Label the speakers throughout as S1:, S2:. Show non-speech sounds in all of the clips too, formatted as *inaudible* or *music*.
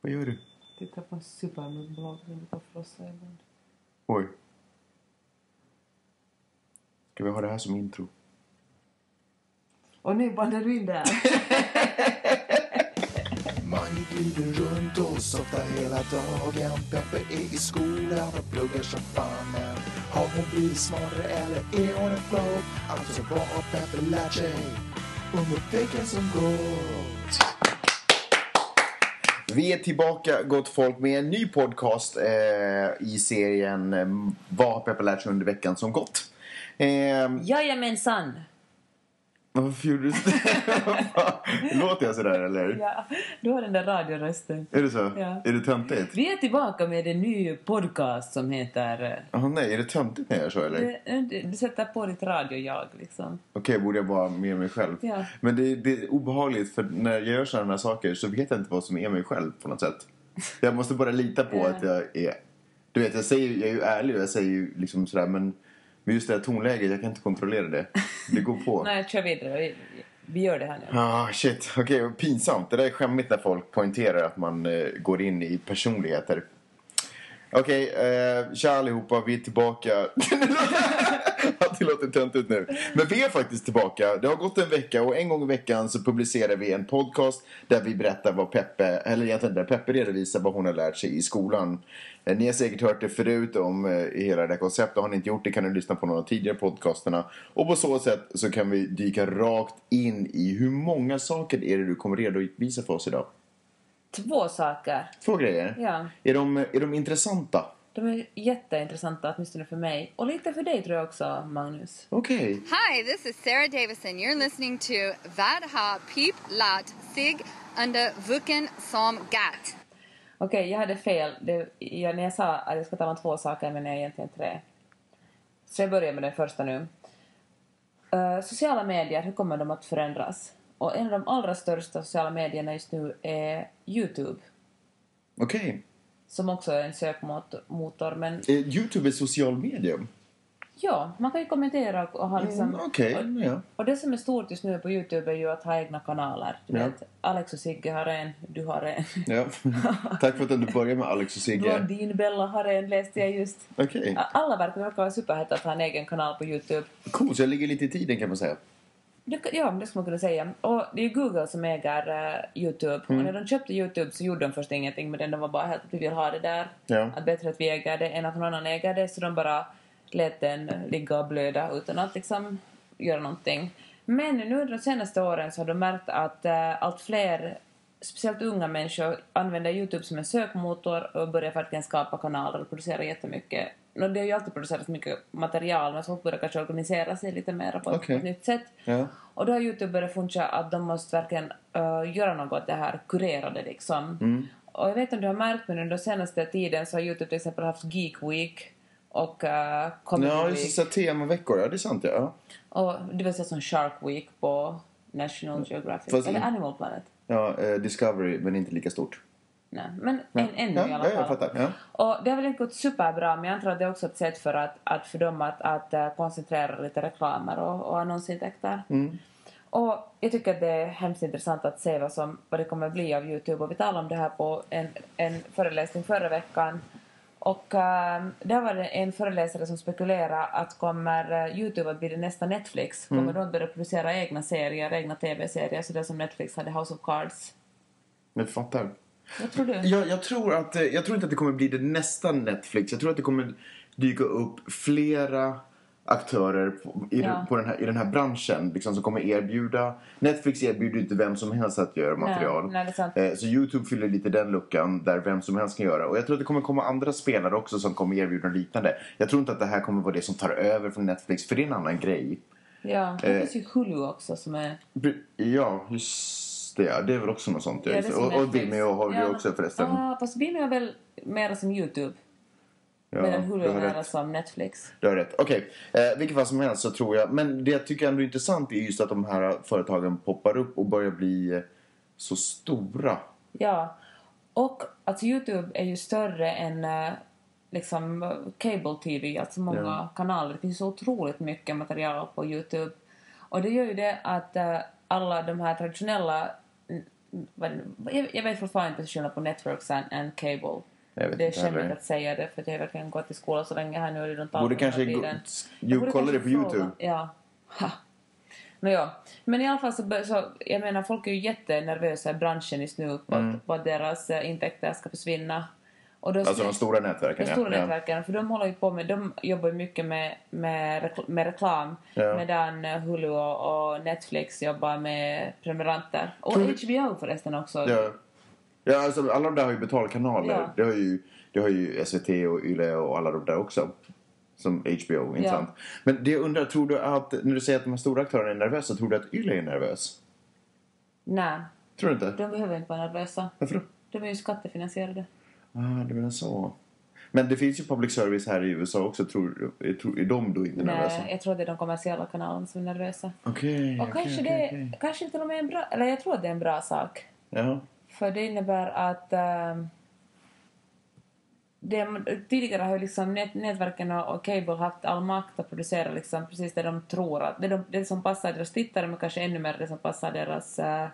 S1: Vad gör du?
S2: Titta på en superarmutblad på Frost Island.
S1: Oj. Ska vi ha det här som intro?
S2: Och nu bandar du in där.
S3: Man glider runt oss ofta hela dagen Peppe är i skolan och pluggar som fan men Har hon blivit smartare eller är hon en flow? Alltså vad har Peppe lärt sig under veckan som gått?
S1: Vi är tillbaka, gott folk, med en ny podcast eh, i serien eh, Vad har Peppe lärt sig under veckan som gått? Eh,
S2: Jajamensan!
S1: varför gjorde du så? *laughs* Låter jag sådär eller?
S2: Ja, du har den där radiorösten.
S1: Är det så?
S2: Ja.
S1: Är det töntigt?
S2: Vi är tillbaka med en ny podcast som heter... eh,
S1: Jaha, nej, är det töntigt när jag gör så eller?
S2: Du, du- du sätter på ditt radio-jag liksom.
S1: Okej, borde jag vara med mig själv?
S2: Ja.
S1: Men det, det är obehagligt för när jag gör sådana här saker så vet jag inte vad som är mig själv på något
S2: *laughs*
S1: sätt. Jag måste bara lita på
S2: Ja.
S1: att jag är... Du vet, jag, säger, jag är ju ärlig och jag säger ju liksom sådär men men just det här tonläget, jag kan inte kontrollera det. Det går på.
S2: *laughs* Nej, kör vidare. Vi, vi gör det här nu.
S1: Ah, shit. Okej, vad pinsamt. Det där är skämmigt när folk poängterar att man eh, går in i personligheter. Okej, eh, tja allihopa. Vi är tillbaka. *laughs* Att det låter töntigt nu. Men vi är faktiskt tillbaka. Det har gått en vecka och en gång i veckan så publicerar vi en podcast där vi berättar vad Peppe, eller egentligen där Peppe redovisar vad hon har lärt sig i skolan. Eh, Ni har säkert hört det förut om eh, hela det här konceptet. Har ni inte gjort det kan ni lyssna på någon av de tidigare podcasterna. Och på så sätt så kan vi dyka rakt in i hur många saker är det du kommer redovisa för oss idag?
S2: Två saker.
S1: Två grejer.
S2: Ja.
S1: Är, de, är de intressanta?
S2: De är jätteintressanta, åtminstone för mig. Och lite för dig tror jag också, Magnus.
S1: Okej.
S4: Hi, this is Sarah Davison. You're listening to Vad har Pip lärt sig under vuken som gatt?
S2: Okej, jag hade fel. Det, jag, när jag sa att jag ska ta med två saker men jag egentligen tre. Så jag börjar med den första nu. Eh, sociala medier, hur kommer de att förändras? Och en av de allra största sociala medierna just nu är Youtube.
S1: Okej.
S2: Som också är en sökmotor. Men
S1: Eh, Youtube är social medium?
S2: ja, man kan ju kommentera och ha liksom...
S1: Mm, Okej, ja.
S2: Och det som är stort just nu på Youtube är ju att ha egna kanaler. Du
S1: Ja.
S2: vet, Alex och Sigge har en, du har en.
S1: Ja. *laughs* Tack för att du börjar med Alex och
S2: *laughs*
S1: Sigge.
S2: Blondinbella har en läste jag just.
S1: Okej.
S2: Alla verkar verkar vara superheta att ha en egen kanal på Youtube.
S1: Cool, så jag ligger lite i tiden kan man säga.
S2: Det, ja, det skulle man kunna säga. Och det är ju Google som äger eh, Youtube.
S1: Mm.
S2: Och när de köpte Youtube så gjorde de först ingenting med den. De var bara helt att vi vill ha det där.
S1: Ja.
S2: Att bättre att vi äger det än att någon annan äger det. Så de bara lät den ligga och blöda utan att liksom göra någonting. Men nu under de senaste åren så har de märkt att eh, allt fler, speciellt unga människor, använder Youtube som en sökmotor och börjar verkligen skapa kanaler och producera jättemycket. Nå, det har ju alltid producerats mycket material men folk börjar kanske organisera sig lite mer på ett
S1: Okej.
S2: nytt nytt sätt.
S1: Ja.
S2: Och då har Youtube börjat funka att de måste verkligen eh, göra något åt det här, kurera det liksom.
S1: Mm.
S2: Och jag vet inte om du har märkt men under senaste tiden så har Youtube till exempel haft Geek Week och uh, Comedy
S1: Ja, just det.
S2: Week.
S1: så här Temaveckor, ja det är sant ja. ja.
S2: Och det vill säga som Shark Week på National Geographic.
S1: Fast-
S2: Eller Animal Planet.
S1: Ja, eh, Discovery, men inte lika stort.
S2: Nej, men
S1: Ja.
S2: en, ännu
S1: Ja,
S2: i alla fall.
S1: ja, jag fattar, ja.
S2: Och det har väl inte gått superbra, men jag antar att det är också ett sätt för, att, att för dem att, att eh, koncentrera lite reklamer och, och annonsintäkter.
S1: Mm.
S2: Och jag tycker att det är hemskt intressant att se vad, som, vad det kommer bli av Youtube. Och vi talade om det här på en, en föreläsning förra veckan. Och äh, där var det en föreläsare som spekulerade att kommer eh, Youtube att bli det nästa Netflix?
S1: Mm.
S2: Kommer de att börja producera egna serier, egna TV-serier, sådär som Netflix hade House of Cards?
S1: Jag fattar.
S2: Vad tror du?
S1: Jag, jag, tror att, eh, jag tror inte att det kommer bli det nästa Netflix. Jag tror att det kommer dyka upp flera aktörer på, i,
S2: Ja.
S1: på den här, i den här branschen liksom, som kommer erbjuda... Netflix erbjuder ju inte vem som helst att göra material.
S2: nej, det är sant.
S1: Eh, Så Youtube fyller lite den luckan där vem som helst kan göra. Och jag tror att det kommer komma andra spelare också som kommer erbjuda något liknande. Jag tror inte att det här kommer vara det som tar över från Netflix, för det är en annan grej. Eh,
S2: Ja, det finns ju Hulu också som är...
S1: Br- Ja, just det. ja. Det är väl också något sånt. Ja,
S2: Ja, det är som
S1: och, och
S2: Netflix.
S1: Vimeo har vi
S2: Ja.
S1: också förresten.
S2: Ah, fast Vimeo är väl mera som Youtube?
S1: Ja,
S2: medan Hulu
S1: du
S2: är
S1: har
S2: mera
S1: rätt.
S2: som Netflix.
S1: Du har rätt. Okej, eh, vilket fall som helst så tror jag. Men det jag tycker ändå är intressant är just att de här företagen poppar upp och börjar bli eh, så stora.
S2: Ja. Och alltså Youtube är ju större än eh, liksom eh, cable TV, alltså många
S1: Ja.
S2: kanaler. Det finns så otroligt mycket material på Youtube. Och det gör ju det att eh, alla de här traditionella mm, vad- jag, jag vet fortfarande inte skillnad på networks and, and cable.
S1: Jag vet
S2: det är
S1: inte heller.
S2: skämmigt att säga det för att jag verkligen gått i skolan så länge här nu och redan tagit
S1: Borde
S2: den här
S1: kanske... Gå,
S2: tiden. Jag
S1: jo,
S2: borde
S1: kolla det på
S2: kanske fråga.
S1: YouTube.
S2: Ja. Ha. Nåja. Men i alla fall så, bör- så, jag menar folk är ju jättenervösa i branschen just nu på
S1: Mm.
S2: att, på att deras eh, intäkter ska försvinna. Och då,
S1: Alltså de stora
S2: de
S1: nätverken. ja.
S2: stora
S1: Ja.
S2: nätverken, för de håller ju på med, de jobbar ju mycket med, med, rekl- med reklam
S1: Ja.
S2: medan eh, Hulu och, och Netflix jobbar med prenumeranter. Och
S1: Tror du-
S2: HBO förresten också.
S1: Mm. Ja. Ja, alltså, alla de där har ju betalkanaler.
S2: Ja.
S1: Det, har ju, det har ju SVT och Yle och alla de där också. Som HBO, inte
S2: Ja.
S1: sant? Men det jag undrar, tror du att när du säger att de här stora aktörerna är nervösa, tror du att Yle är nervös?
S2: Nej,
S1: Tror du inte?
S2: de behöver inte vara nervösa.
S1: Varför då?
S2: De är ju skattefinansierade.
S1: Ah, du menar så. Men det finns ju public service här i USA också. Tror, är- tror, är de då inte nervösa?
S2: Nej, jag tror att det är de kommersiella kanalerna som är nervösa.
S1: Okej,
S2: Och
S1: okej,
S2: kanske,
S1: okej,
S2: det,
S1: okej.
S2: kanske till och med en bra... Eller jag tror att det är en bra sak.
S1: Ja.
S2: För det innebär att... ehm, det, tidigare har ju liksom nät, nätverken och, och cable haft all makt att producera liksom precis det de tror att... Det, de, det som passar deras tittare men kanske ännu mer det som passar deras eh,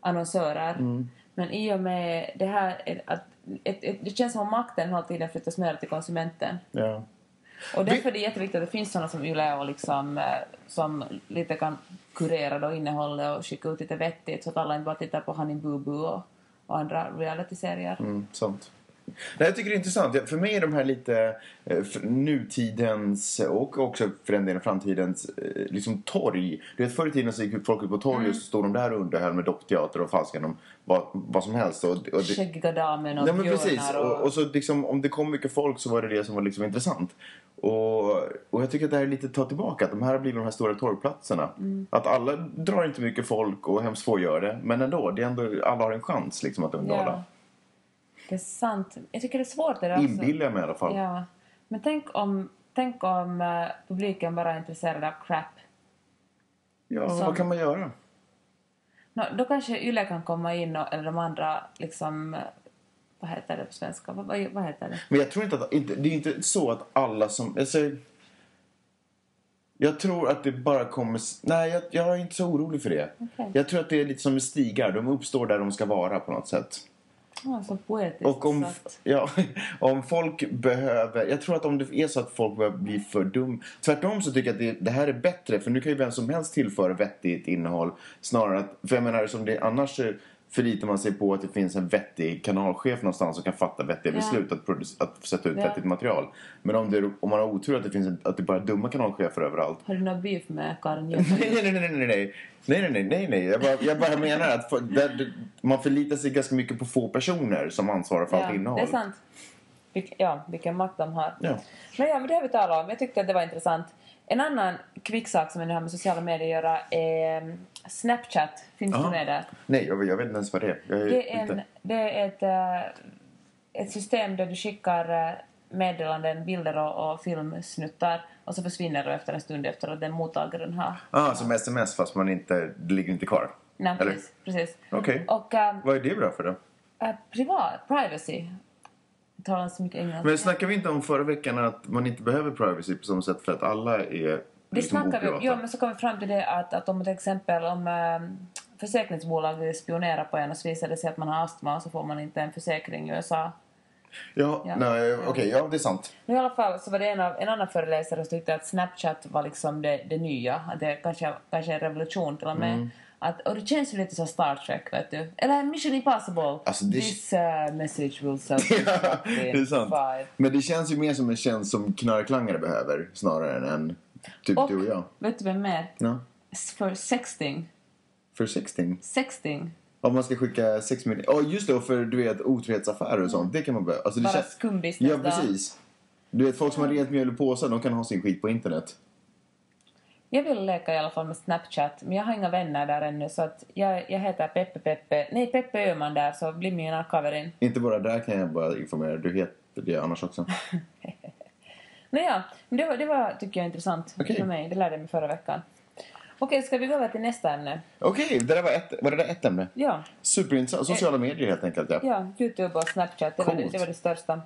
S2: annonsörer. Men i och med det här... är Att, ett, ett, det känns som att makten hela tiden flyttas mer till konsumenten.
S1: ja.
S2: Och därför är det jätteviktigt att det finns sådana som Yle och liksom, eh, som lite kan kurera då innehållet och skicka ut lite vettigt så att alla inte bara tittar på Honey Boo Boo och, och andra realityserier.
S1: Mm, sant. Nej, jag tycker det är intressant. Jag- För mig är de här lite eh, f- nutidens och också för den delen framtidens eh, liksom torg. Du vet förr i tiden så gick folk ut på torget
S2: Mm.
S1: och så stod de där och underhöll med dockteater och falskan om vad, vad som helst. Och, och det,
S2: Skäggiga damen och
S1: nej men
S2: björnar
S1: precis. Och, och så liksom, om det kom mycket folk så var det det som var liksom intressant. Och, och jag tycker att det här är lite att ta tillbaka. Att de här har blivit de här stora torgplatserna.
S2: Mm.
S1: Att alla drar inte mycket folk och hemskt få gör det. Men ändå, det är ändå alla har en chans liksom att underhålla.
S2: ja. Det är sant. Jag tycker det är svårt det där. också.
S1: Inbillar jag mig i alla fall.
S2: alltså- Ja. Men tänk om, tänk om eh, publiken bara är intresserad av crap.
S1: Ja,
S2: Som-
S1: vad kan man göra?
S2: Nå, då kanske Yle kan komma in och, eller de andra liksom, eh, vad heter det på svenska? Vad, vad, vad heter det?
S1: Men jag tror inte att... Inte, det är inte så att alla som... Alltså, jag tror att det bara kommer... s- Nej, jag, jag är inte så orolig för det.
S2: Okej.
S1: Jag tror att det är lite som med stigar. De uppstår där de ska vara på något sätt.
S2: Ah, så poetiskt
S1: Och om,
S2: sagt.
S1: ja, *laughs* om folk behöver... Jag tror att om det är så att folk börjar bli för dum... Tvärtom så tycker jag att det, det här är bättre. För nu kan ju vem som helst tillföra vettigt innehåll. Snarare att... För jag menar, som det, annars så förlitar man sig på att det finns en vettig kanalchef någonstans som kan fatta vettiga
S2: Ja.
S1: beslut att, produc- att sätta ut
S2: Ja.
S1: vettigt material. Men om, det, om man har otur att det, finns en, att det bara är dumma kanalchefer överallt. *laughs*
S2: Har du någon beef med *laughs* Karin Jönsson?
S1: Nej, nej, nej, nej, nej, nej. Nej, nej, nej, nej, nej. Jag bara, jag bara menar att för, där, man förlitar sig ganska mycket på få personer som ansvarar för allt innehåll.
S2: det är sant. Vilk, ja, vilken makt de har.
S1: Ja.
S2: Men ja, men det har vi talat om. Jag tyckte att det var intressant. En annan kvicksak som nu har med sociala medier att göra är mm, Snapchat. Finns
S1: Ja.
S2: du med där?
S1: Nej, jag, jag vet inte ens vad det är. Jag
S2: Det är,
S1: inte-
S2: en, det är ett, eh, ett system där du skickar eh, meddelanden, bilder och, och filmsnuttar och så försvinner det efter en stund efter att den mottagaren har.
S1: Ah, som sms fast man inte, det ligger inte kvar.
S2: Nej,
S1: Eller?
S2: precis. precis.
S1: Okej.
S2: Och eh,
S1: Vad är det bra för då?
S2: eh, privat, privacy. Jag talar inte så mycket engelska.
S1: Men snackade vi inte om förra veckan att man inte behöver privacy på samma sätt för att alla är liksom
S2: Det snackar
S1: oprivata?
S2: vi ja, men så kom vi fram till det att, att om till exempel om ähm, försäkringsbolag vill spionera på en och så visar det sig att man har astma så får man inte en försäkring i USA.
S1: Ja,
S2: Ja.
S1: nej, okej, ja det är
S2: *laughs*
S1: sant.
S2: Men i alla fall så var det en, av, en annan föreläsare som tyckte att Snapchat var liksom det, det nya, att det kanske, kanske är en revolution till och med.
S1: Mm.
S2: Att, och det känns ju lite så Star Trek, vet du. Eller Mission Impossible.
S1: Alltså, det-
S2: This uh, message
S1: *laughs*
S2: will sell you
S1: det är sant.
S2: Five.
S1: Men det känns ju mer som en tjänst som knarklangare behöver snarare än en, typ
S2: Och,
S1: du och jag.
S2: vet du vem mer?
S1: Ja.
S2: S- För sexting.
S1: För 16.
S2: Sexting.
S1: Om man ska skicka sex miljoner. Ja, just det. och För du vet, otrohetsaffärer och sånt. Det kan man behöva. Alltså, det
S2: Mm. Bara
S1: känns-
S2: skumbusiness
S1: Ja,
S2: då.
S1: precis. Du vet, folk som har rent mjöl i påsen, de kan ha sin skit på internet.
S2: Jag vill leka i alla fall med Snapchat, men jag har inga vänner där ännu så att jag, jag heter Peppe Peppe, nej Peppe Öhman där så blir min arkaverin.
S1: Inte bara där kan jag bara informera. Du heter det annars också.
S2: Nåja, men det var, det var tycker jag intressant
S1: Okej.
S2: för mig, det lärde jag mig förra veckan. Okej, ska vi gå över till nästa ämne?
S1: Okej, det där var ett, var det där ett ämne?
S2: Ja,
S1: Superintressant. Sociala medier helt enkelt, ja.
S2: ja Youtube och Snapchat, det, var det,
S1: Coolt.
S2: det var det största.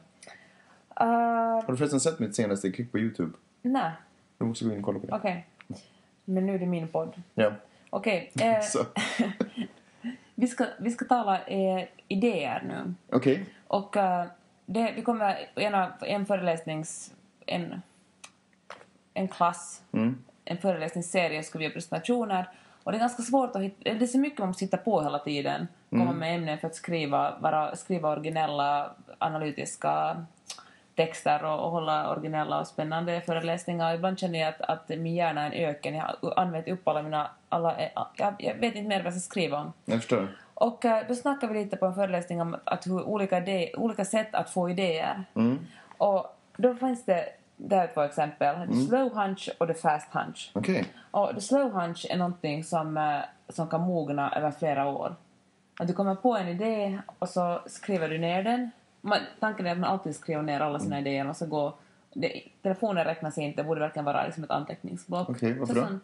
S2: Uh,
S1: Har du förresten sett mitt senaste klipp på Youtube?
S2: nej,
S1: Du måste gå in och kolla på det.
S2: okej. Men nu är det min podd.
S1: *laughs* Ja.
S2: Okej. eh,
S1: Så.
S2: Vi ska, vi ska tala eh, idéer nu.
S1: Okej.
S2: Och eh, det, vi kommer, en, av- en föreläsnings... En, en klass, en föreläsningsserie skulle vi göra presentationer. Och det är ganska svårt att hitta, det är så mycket man måste hitta på hela tiden. Komma med ämnen för att skriva, vara, skriva originella analytiska texter och, och hålla originella och spännande föreläsningar. Ibland känner jag att, att min hjärna är en öken. Jag har använt upp alla mina... Alla, jag, jag vet inte mer vad jag ska skriva om.
S1: Jag förstår.
S2: Och eh, då snackade vi lite på en föreläsning om att, att hur olika, idé, olika sätt att få idéer. Och då fanns det, det här är två exempel, the slow hunch och the fast hunch.
S1: Okej.
S2: Och the slow hunch är någonting som, eh, som kan mogna över flera år. Att du kommer på en idé och så skriver du ner den. Man, tanken är att man alltid skriver ner alla sina
S1: Mm.
S2: idéer och så går... Det, telefonen räknas inte, det borde verkligen vara liksom ett anteckningsblock.
S1: Okej, varför
S2: Så
S1: då?
S2: sån-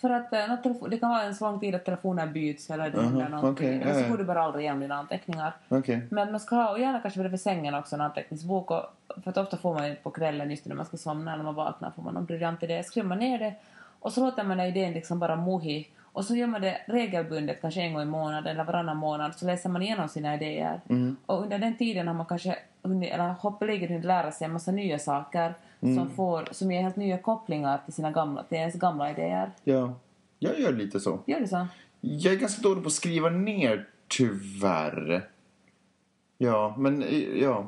S2: För att eh, något telefon, det kan vara en så lång tid att telefonen byts eller det händer
S1: Aha,
S2: någonting.
S1: okej,
S2: och
S1: ja,
S2: så
S1: ja.
S2: får du bara aldrig igenom dina anteckningar.
S1: Okej.
S2: Men att man ska ha, och gärna kanske bredvid sängen också, en anteckningsbok. Och, för att ofta får man ju på kvällen, just när man ska somna eller man vaknar, får man någon briljant idé. Skriver man ner det och så låter man den idén liksom bara mohi. Och så gör man det regelbundet, kanske en gång i månaden eller varannan månad, så läser man igenom sina idéer. Och under den tiden har man kanske hunnit, eller hoppeligen hunnit lära sig en massa nya saker som, får, som ger helt nya kopplingar till, sina gamla, till ens gamla idéer.
S1: Ja. Jag gör lite så.
S2: Gör du så?
S1: Jag är ganska dålig på att skriva ner, tyvärr. Ja, men eh, ja.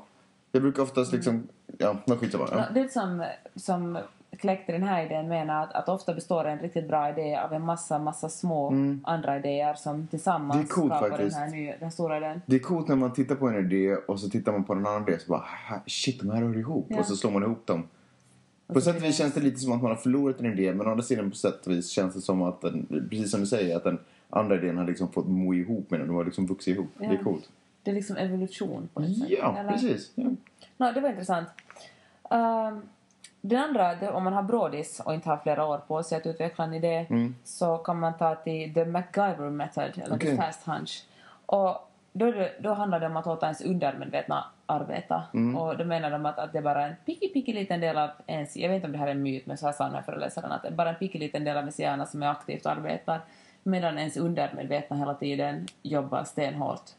S1: Jag brukar oftast liksom... Ja, men skitsamma.
S2: Ja.
S1: Ja.
S2: Det som, som kläckte den här idén menar att, att ofta består en riktigt bra idé av en massa, massa små andra idéer som tillsammans
S1: Mm. Det är coolt
S2: skapar
S1: faktiskt.
S2: den här nya, den stora idén.
S1: Det är coolt när man tittar på en idé och så tittar man på en annan idé och så bara "Haha, shit, de här hör ihop.
S2: Ja. Alltså,
S1: Och så slår man ihop dem. På sätt och vis känns det lite som att man har förlorat en idé men å andra sidan på sätt och vis känns det som att den, precis som du säger, att den andra idén har liksom fått mo ihop med den. De har liksom vuxit ihop. Det
S2: Ja.
S1: är coolt.
S2: Det är liksom evolution på ett sätt.
S1: Ja,
S2: eller? Mm.
S1: precis. Ja.
S2: Nå, det var intressant. Um, den andra, det, om man har brådis och inte har flera år på sig att utveckla en idé så kan man ta till the MacGyver method, eller
S1: Okej.
S2: the fast hunch. Och då, är det- då handlar det om att låta ens undermedvetna arbeta. Och då menar de att, att det är bara en picky, picky liten del av ens... Jag vet inte om det här är en myt, men så här sa den här föreläsaren att det är bara en picky liten del av ens hjärna som är aktivt och arbetar medan ens undermedvetna hela tiden jobbar stenhårt.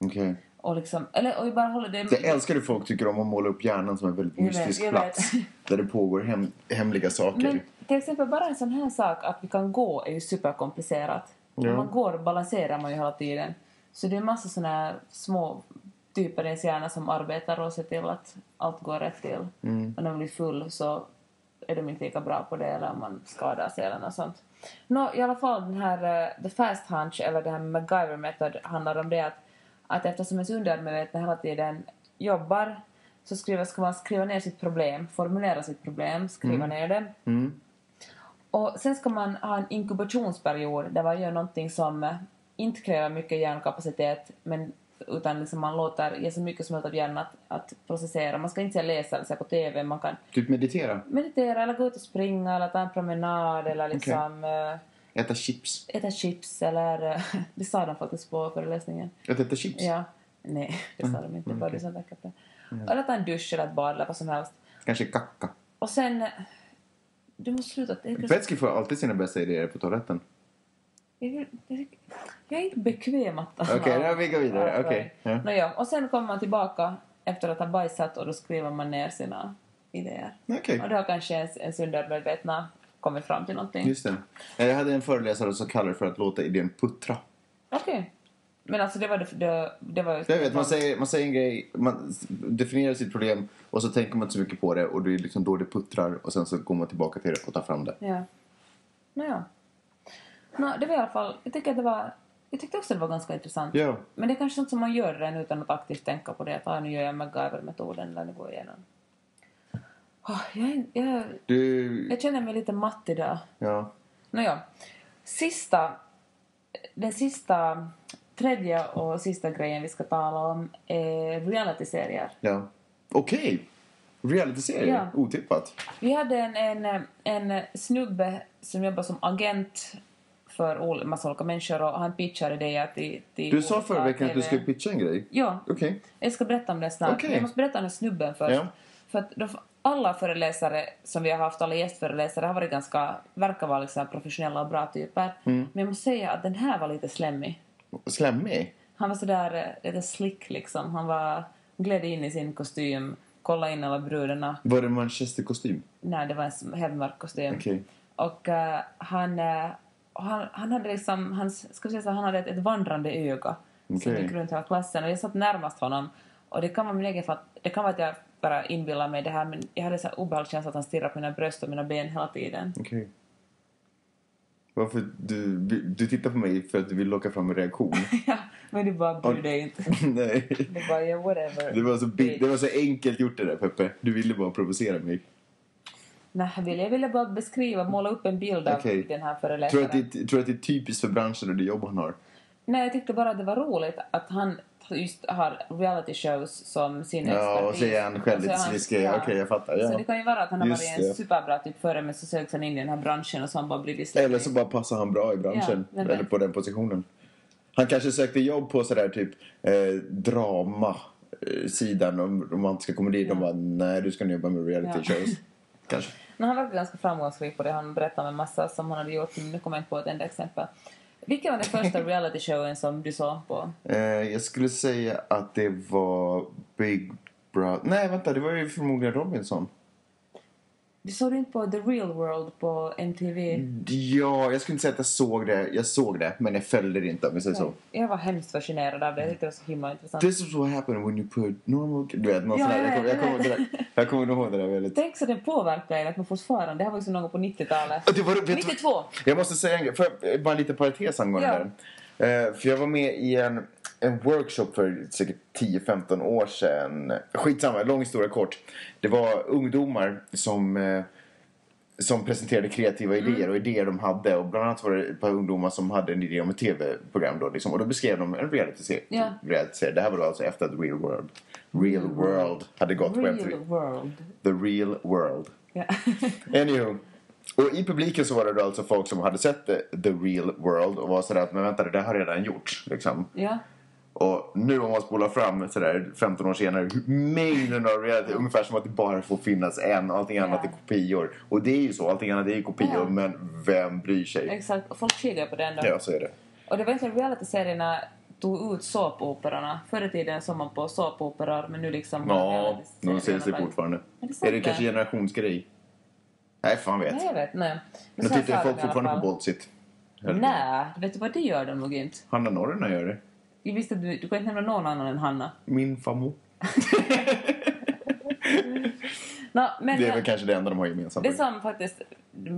S1: Okej.
S2: Och liksom, eller, och jag bara håller det...
S1: Jag älskar hur folk tycker om att måla upp hjärnan som en väldigt
S2: Jag vet,
S1: mystisk
S2: jag vet. *laughs*
S1: plats. Där det pågår hem, hemliga saker.
S2: Men till exempel bara en sån här sak att vi kan gå är ju superkomplicerat. Om man går balanserar man ju hela tiden. Så det är massa såna här små typer i ens hjärna som arbetar och ser till att allt går rätt till. Och när man blir full så är de inte lika bra på det eller om man skadar sig eller något sånt. Nå, i alla fall den här eh, The Fast Hunch eller det här med MacGyver Method handlar om det att, att eftersom ens undermedvetna hela tiden jobbar så skriva, ska man skriva ner sitt problem, formulera sitt problem, skriva ner det. Och sen ska man ha en inkubationsperiod där man gör någonting som eh, inte kräver mycket hjärnkapacitet men utan liksom man låter, ger så mycket som möjligt av hjärnan att, att processera. Man ska inte se läsa eller se på TV, man kan
S1: Typ meditera,
S2: meditera eller gå ut och springa eller ta en promenad eller liksom eh,
S1: äta chips.
S2: äta chips eller... eh, *laughs* det sa de faktiskt på föreläsningen.
S1: Att äta chips?
S2: Ja. Nej, det sa de inte. Bara du som väcker på det. Eller ta en dusch eller ett bad eller vad som helst.
S1: Kanske kacka.
S2: Och sen... eh, Du måste sluta. Jag,
S1: Petski får alltid sina bästa idéer på toaletten.
S2: jag, jag, jag är inte bekväm att tala.
S1: Okej, ja, vi går vidare. Okej, ja.
S2: Nåja, och sen kommer man tillbaka efter att ha bajsat och då skriver man ner sina idéer.
S1: Okej.
S2: Och då har kanske ens, ens undermedvetna kommit fram till någonting.
S1: Just det. Eh, Jag hade en föreläsare som kallade det för att låta idén puttra.
S2: Okej. Men alltså det var det... det, det var ju...
S1: Jag vet, man säger, man säger en grej, man s- definierar sitt problem och så tänker man inte så mycket på det och det är liksom då det puttrar och sen så går man tillbaka till det och tar fram det.
S2: Ja. Nåja. Nå, det var i alla fall... Jag tycker att det var... Jag tyckte också det var ganska intressant.
S1: Ja.
S2: Men det är kanske sånt som man gör redan utan att aktivt tänka på det. Att ah, nu gör jag MacGyver-metoden eller nu går jag igenom. Ah, jag, jag,
S1: Du...
S2: jag känner mig lite matt idag.
S1: Ja.
S2: Nåja. Sista... Den sista... Tredje och sista grejen vi ska tala om är reality-serier.
S1: Ja. Okej! Realityserie.
S2: Ja.
S1: Otippat.
S2: Vi hade en, en, en snubbe som jobbar som agent för ol- massa olika människor och han pitchade idéer till, till
S1: Du sa
S2: olika
S1: förra veckan att du
S2: TV.
S1: skulle pitcha en grej.
S2: Ja,
S1: Okej.
S2: jag ska berätta om det snart.
S1: Okej.
S2: Men Jag måste berätta om den snubben först.
S1: Ja.
S2: För att de, alla föreläsare som vi har haft, alla gästföreläsare, har varit
S1: Mm.
S2: ganska, verkar vara liksom professionella och bra typer. Men jag måste säga att den här var lite slemmig.
S1: slemmig.
S2: Han var sådär eh, lite slick liksom. Han var, gled in i sin kostym, kollade in alla brudarna.
S1: Var det Manchester-kostym?
S2: Nej, det var en s- helt mörk kostym.
S1: Okej.
S2: Och eh, han, eh, och han, han hade liksom, han, ska vi säga så, här, han hade ett, ett vandrande öga som
S1: Okej.
S2: gick runt hela klassen och jag satt närmast honom. Och det kan vara min egen fatt, det kan vara att jag bara inbillar mig det här men jag hade så här obehaglig känsla att han stirrade på mina bröst och mina ben hela tiden. *laughs*
S1: Okej. Varför? Du, du tittar på mig för att du vill locka fram en
S2: *laughs*
S1: reaktion.
S2: Ja, men du bara bryr dig inte.
S1: Nej.
S2: Du bara, yeah, whatever.
S1: Det var, så bi- det var så enkelt gjort det där Peppe. Du ville bara provocera mig.
S2: Nej, jag ville, jag ville bara beskriva, måla upp en bild av
S1: Okej.
S2: den här
S1: Tror du att,
S2: föreläsaren.
S1: det- tror du att det är typiskt för branschen och det jobb han har?
S2: Nej, jag tyckte bara att det var roligt att han just har reality shows som sin
S1: Ja, och så är han själv
S2: Och så är
S1: lite
S2: Alltså, han-
S1: sliskig. Okej, jag fattar.
S2: Så
S1: Ja.
S2: det kan ju vara att han har
S1: Just
S2: varit en
S1: det.
S2: superbra typ före men så sögs han in i den här branschen och så har han bara blivit släppt.
S1: Eller så bara passar han bra i branschen.
S2: Ja, vem vet.
S1: eller på den positionen. Han kanske sökte jobb på sådär typ eh, drama eh, sidan om romantiska komedier. De bara, nej du ska nu jobba med reality
S2: Ja. *laughs*
S1: shows. Kanske.
S2: Men han verkar ganska framgångsrik på det. Han berättar om en massa som han hade gjort. Men nu kommer jag inte på ett enda exempel. Vilken var
S1: *laughs*
S2: den första reality showen som du såg på?
S1: Eh, jag skulle säga att det var Big Brother. Nej vänta, det var ju förmodligen Robinson.
S2: Du såg inte på The Real World på MTV?
S1: Mm, Ja, jag skulle inte säga att jag såg det. Jag såg det, men jag följde det inte om jag säger så.
S2: Jag var hemskt fascinerad av det. Jag tyckte det var så himla intressant.
S1: This is what happened when you put normal... Du vet, någon
S2: Ja,
S1: sån här. Jag
S2: jag
S1: kommer,
S2: vet,
S1: jag kommer,
S2: jag vet.
S1: ihåg det där. jag kommer nog ihåg det där väldigt...
S2: Tänk så den påverkar er att man fortfarande... Det här var ju som någon på 90-talet.
S1: Och det var- vet du-
S2: 92!
S1: Jag måste säga en grej, för, bara en liten parentes angående
S2: Ja.
S1: det där. Eh, för jag var med i en, en workshop för säkert 10-15 år sedan. Skitsamma, lång historia kort. Det var ungdomar som, eh, som presenterade kreativa
S2: Mm.
S1: idéer och idéer de hade. Och bland annat var det ett par ungdomar som hade en idé om ett tv-program då. Liksom, och då beskrev de en realityserie.
S2: Ja. Mm.
S1: realityserie. Det här var då alltså efter att Real World, Real World hade gått på
S2: Real
S1: MTV.
S2: World.
S1: The Real World.
S2: Ja. *laughs*
S1: Anywho. Och i publiken så var det då alltså folk som hade sett The, the Real World och var sådär att men vänta det där har redan gjorts liksom.
S2: ja.
S1: Och nu om man spolar fram sådär 15 år senare mängden av reality ungefär som att det bara får finnas en och allting annat
S2: Ja.
S1: är kopior. Och det är ju så, allting annat är ju kopior
S2: Ja.
S1: men vem bryr sig?
S2: Exakt. Och folk skiljer på den då.
S1: Ja så är det.
S2: Och det var egentligen realityserierna tog ut såpoperorna. Förr i tiden såg man på såpoperor men nu liksom...
S1: Ja, de ser sig
S2: realityserierna bara-
S1: fortfarande.
S2: Men det är sant
S1: Är det
S2: det.
S1: kanske generationsgrej? Nej fan vet.
S2: Nej, jag vet. Nej.
S1: Men
S2: så här sa
S1: tittar
S2: de
S1: folk
S2: i alla
S1: fortfarande på
S2: fall.
S1: Bolsit?
S2: Nej, vet du vad det gör de nog inte?
S1: Hanna Norrena gör det.
S2: Jag visste att du, du kan inte nämna någon annan än Hanna.
S1: Min famo.
S2: Nå, men
S1: Det är väl kanske det enda de har gemensamt.
S2: det som faktiskt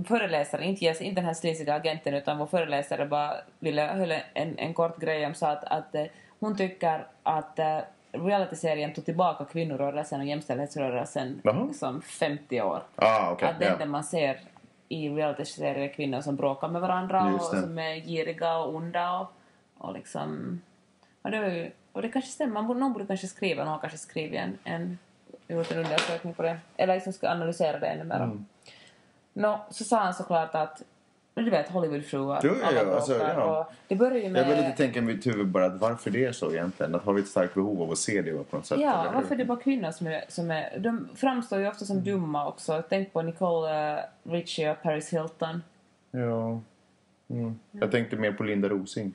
S2: föreläsaren, inte, ges, inte den här slisiga agenten utan vår föreläsare bara ville höll en, en kort grej om så att, att eh, hon tycker att eh, realityserien tog tillbaka kvinnorörelsen och jämställdhetsrörelsen
S1: Jaha.
S2: som 50 år.
S1: Ah, okej.
S2: att det
S1: ja.
S2: enda man ser i realityserier är kvinnor som bråkar med varandra och
S1: Just det.
S2: som är giriga och onda och, och liksom... Och det, var ju, och det kanske stämmer, man borde, någon borde kanske skriva, någon har kanske skrivit en, en, gjort en undersökning på det. Eller liksom ska analysera det ännu mer.
S1: Mm.
S2: Nå, så sa han såklart att, men du vet Hollywoodfruar,
S1: Jo, jo,
S2: alla
S1: jo, alltså,
S2: bråkar
S1: ja.
S2: och det börjar ju med...
S1: Jag vill lite tänka i mitt huvud bara att varför det är så egentligen. Att har vi ett starkt behov av att se det på något sätt?
S2: Ja,
S1: eller hur? Mm.
S2: varför är det bara kvinnor som är, som är... De framstår ju ofta som dumma också. Tänk på Nicole eh, Richie och Paris Hilton.
S1: Ja. Mm. Jag tänkte mer på Linda Rosing.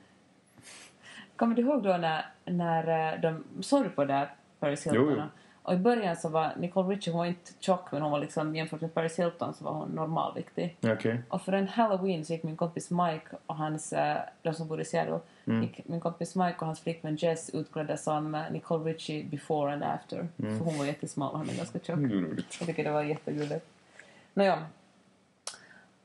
S2: Kommer du ihåg då när, när eh, de såg du på det här Paris Hilton?
S1: Jo, jo.
S2: Och i början så var Nicole Richie, hon var inte tjock men hon var liksom jämfört med Paris Hilton så var hon normalviktig.
S1: Okej.
S2: Och för en halloween så gick min kompis Mike och hans, eh, de som bodde i Seattle,
S1: Mm.
S2: gick min kompis Mike och hans flickvän Jess utklädda som eh, Nicole Richie before and after.
S1: Mm.
S2: För hon var jättesmal och han är ganska tjock.
S1: Roligt.
S2: *laughs* Jag tycker det var jättegulligt. Nåja.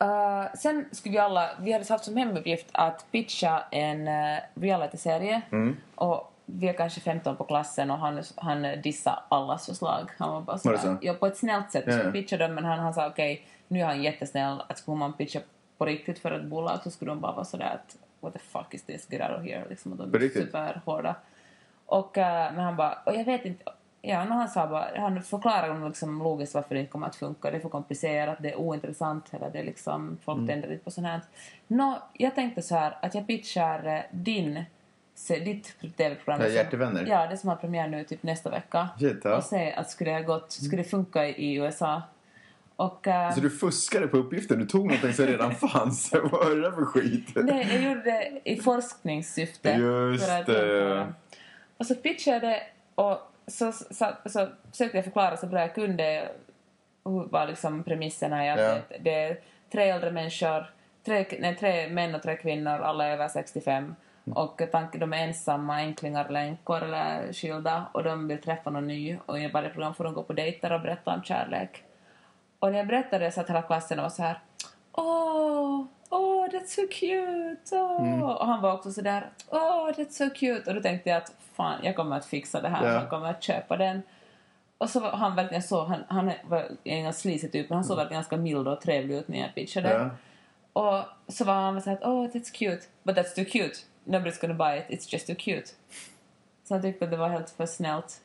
S2: Eh, sen skulle vi alla, vi hade haft som hemuppgift att pitcha en uh, realityserie.
S1: Mm.
S2: Och vi är kanske 15 på klassen och han, han dissade allas förslag. Han var bara sådär,
S1: Var det så?
S2: ja, på ett snällt sätt
S1: Ja,
S2: skulle
S1: ja.
S2: pitcha dem men han, han sa okej, nu är han jättesnäll att skulle man pitcha på riktigt för ett bolag så skulle de bara vara sådär att what the fuck is this, get out of here. Liksom, och de
S1: På
S2: är
S1: riktigt?
S2: superhårda. Och, eh, men han bara, och jag vet inte. Ja, och han sa bara, han förklarade liksom logiskt varför det inte kommer att funka. Det är för komplicerat, det är ointressant, eller det är liksom, folk
S1: Mm.
S2: tänder inte på sånt här. Nå, jag tänkte så här att jag pitchar eh, din, se, ditt tv-program.
S1: Ja,
S2: som-
S1: Hjärtevänner.
S2: Ja, det som har premiär nu typ nästa vecka.
S1: Shit, ja.
S2: Och se att skulle det ha gått, skulle det funka i i USA? Och, eh,
S1: Så du fuskade på uppgiften? Du tog någonting som redan
S2: *laughs*
S1: fanns? *laughs* Vad är det för skit?
S2: Nej, jag gjorde det i forskningssyfte.
S1: Just
S2: för att
S1: det.
S2: jämföra. Och så pitchade jag det och så, så, så, så försökte jag förklara så bra jag kunde hur var liksom premisserna i att
S1: Ja.
S2: det, det är tre äldre människor, tre, nej, tre män och tre kvinnor, alla är över 65. Och tanken, de är ensamma, änklingar eller änkor eller skilda och de vill träffa någon ny och i varje program får de gå på dejter och berätta om kärlek. Och när jag berättade det så att hela klassen var så här Åh, åh, that's so cute! Åh. Och han var också så där Åh, that's so cute! Och då tänkte jag att fan, jag kommer att fixa det här.
S1: Ja.
S2: Jag kommer att köpa den. Och så var han verkligen så, han, han var ingen slisig typ, men han såg verkligen ganska mild och trevlig ut när jag pitchade.
S1: Ja.
S2: Och så var han så här åh, that's cute, but that's too cute. Nobody's gonna buy it, it's just too cute. Så han tyckte att det var helt för snällt.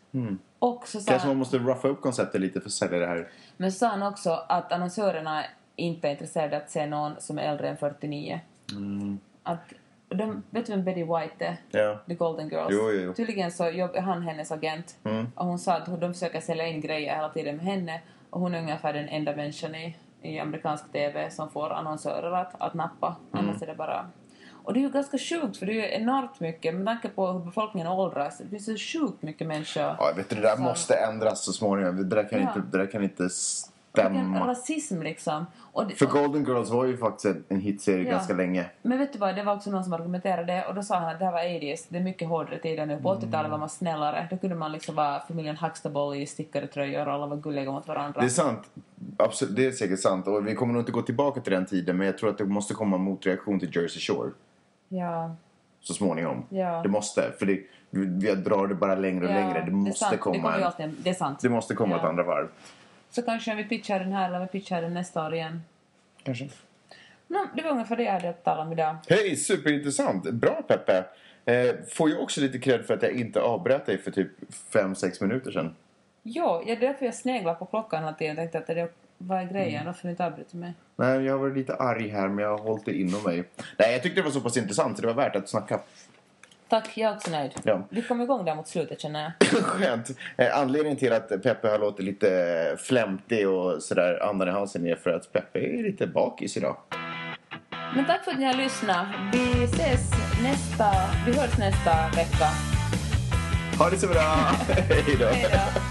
S2: Och så sa
S1: Kanske
S2: han-
S1: man måste rougha upp konceptet lite för att sälja det här.
S2: men så sa han också att annonsörerna inte är intresserade att se någon som är äldre än 49. Att, de, vet du vem Betty White är?
S1: Ja.
S2: The Golden Girls.
S1: Jo, jo, Mm. jo.
S2: Tydligen så jobb, är han hennes agent. Och hon sa att de försöker sälja in grejer hela tiden med henne och hon är ungefär den enda människan i, i amerikansk TV som får annonsörer att, att nappa.
S1: Mm.
S2: Annars är det bara... Och det är ju ganska sjukt för det är ju enormt mycket med tanke på hur befolkningen åldras. Det finns så sjukt mycket människor.
S1: Ja, vet du, det där
S2: Så-
S1: måste ändras så småningom. Det där kan,
S2: Ja.
S1: inte, det där kan inte
S2: Vilken
S1: stämma.
S2: rasism liksom. Och det,
S1: Mm. För
S2: och-
S1: Golden Girls var ju faktiskt en- en hitserie
S2: Ja.
S1: ganska länge.
S2: Men vet du vad, det var också någon som argumenterade det och då sa han att det här var 80s, det är mycket hårdare tider nu. På
S1: Mm.
S2: 80-talet var man snällare, då kunde man liksom vara familjen Huxtable i stickade tröjor och alla var gulliga mot varandra.
S1: Det är sant. Absolut, det är säkert sant. Och vi kommer nog inte gå tillbaka till den tiden men jag tror att det måste komma en motreaktion till Jersey Shore
S2: Ja,
S1: så småningom.
S2: Ja.
S1: Det måste. För det, vi vi drar det bara längre och
S2: ja,
S1: längre. Det
S2: är
S1: måste
S2: sant. det
S1: komma
S2: kommer ju
S1: en,
S2: alltid, det är sant.
S1: det måste komma
S2: Ja.
S1: ett andra varv.
S2: Så kanske vi pitchar den här eller vi pitchar den nästa år igen.
S1: Kanske.
S2: No, det var ungefär det jag hade att tala om idag.
S1: Hej, superintressant. Bra Peppe. Eh, får jag också lite cred för att jag inte avbröt dig för typ 5-6 minuter sedan.
S2: Jo, ja, det är därför jag sneglar på klockan hela tiden och tänkte att det var
S1: Mm.
S2: grejen, varför du inte avbryter mig.
S1: Nej, jag var lite arg här men jag har hållit det inom mig. Nej, jag tyckte det var så pass intressant så det var värt att snacka.
S2: Tack, jag är också nöjd.
S1: Ja.
S2: Vi kom igång där mot slutet känner jag.
S1: Skönt. Eh, Anledningen till att Peppe har låtit lite eh, flämtig och sådär andan i halsen är för att Peppe är lite bakis idag.
S2: Men tack för att ni har lyssnat. Vi ses nästa... Vi hörs nästa vecka.
S1: Ha det så bra! *laughs* Hej då!
S2: Hej då!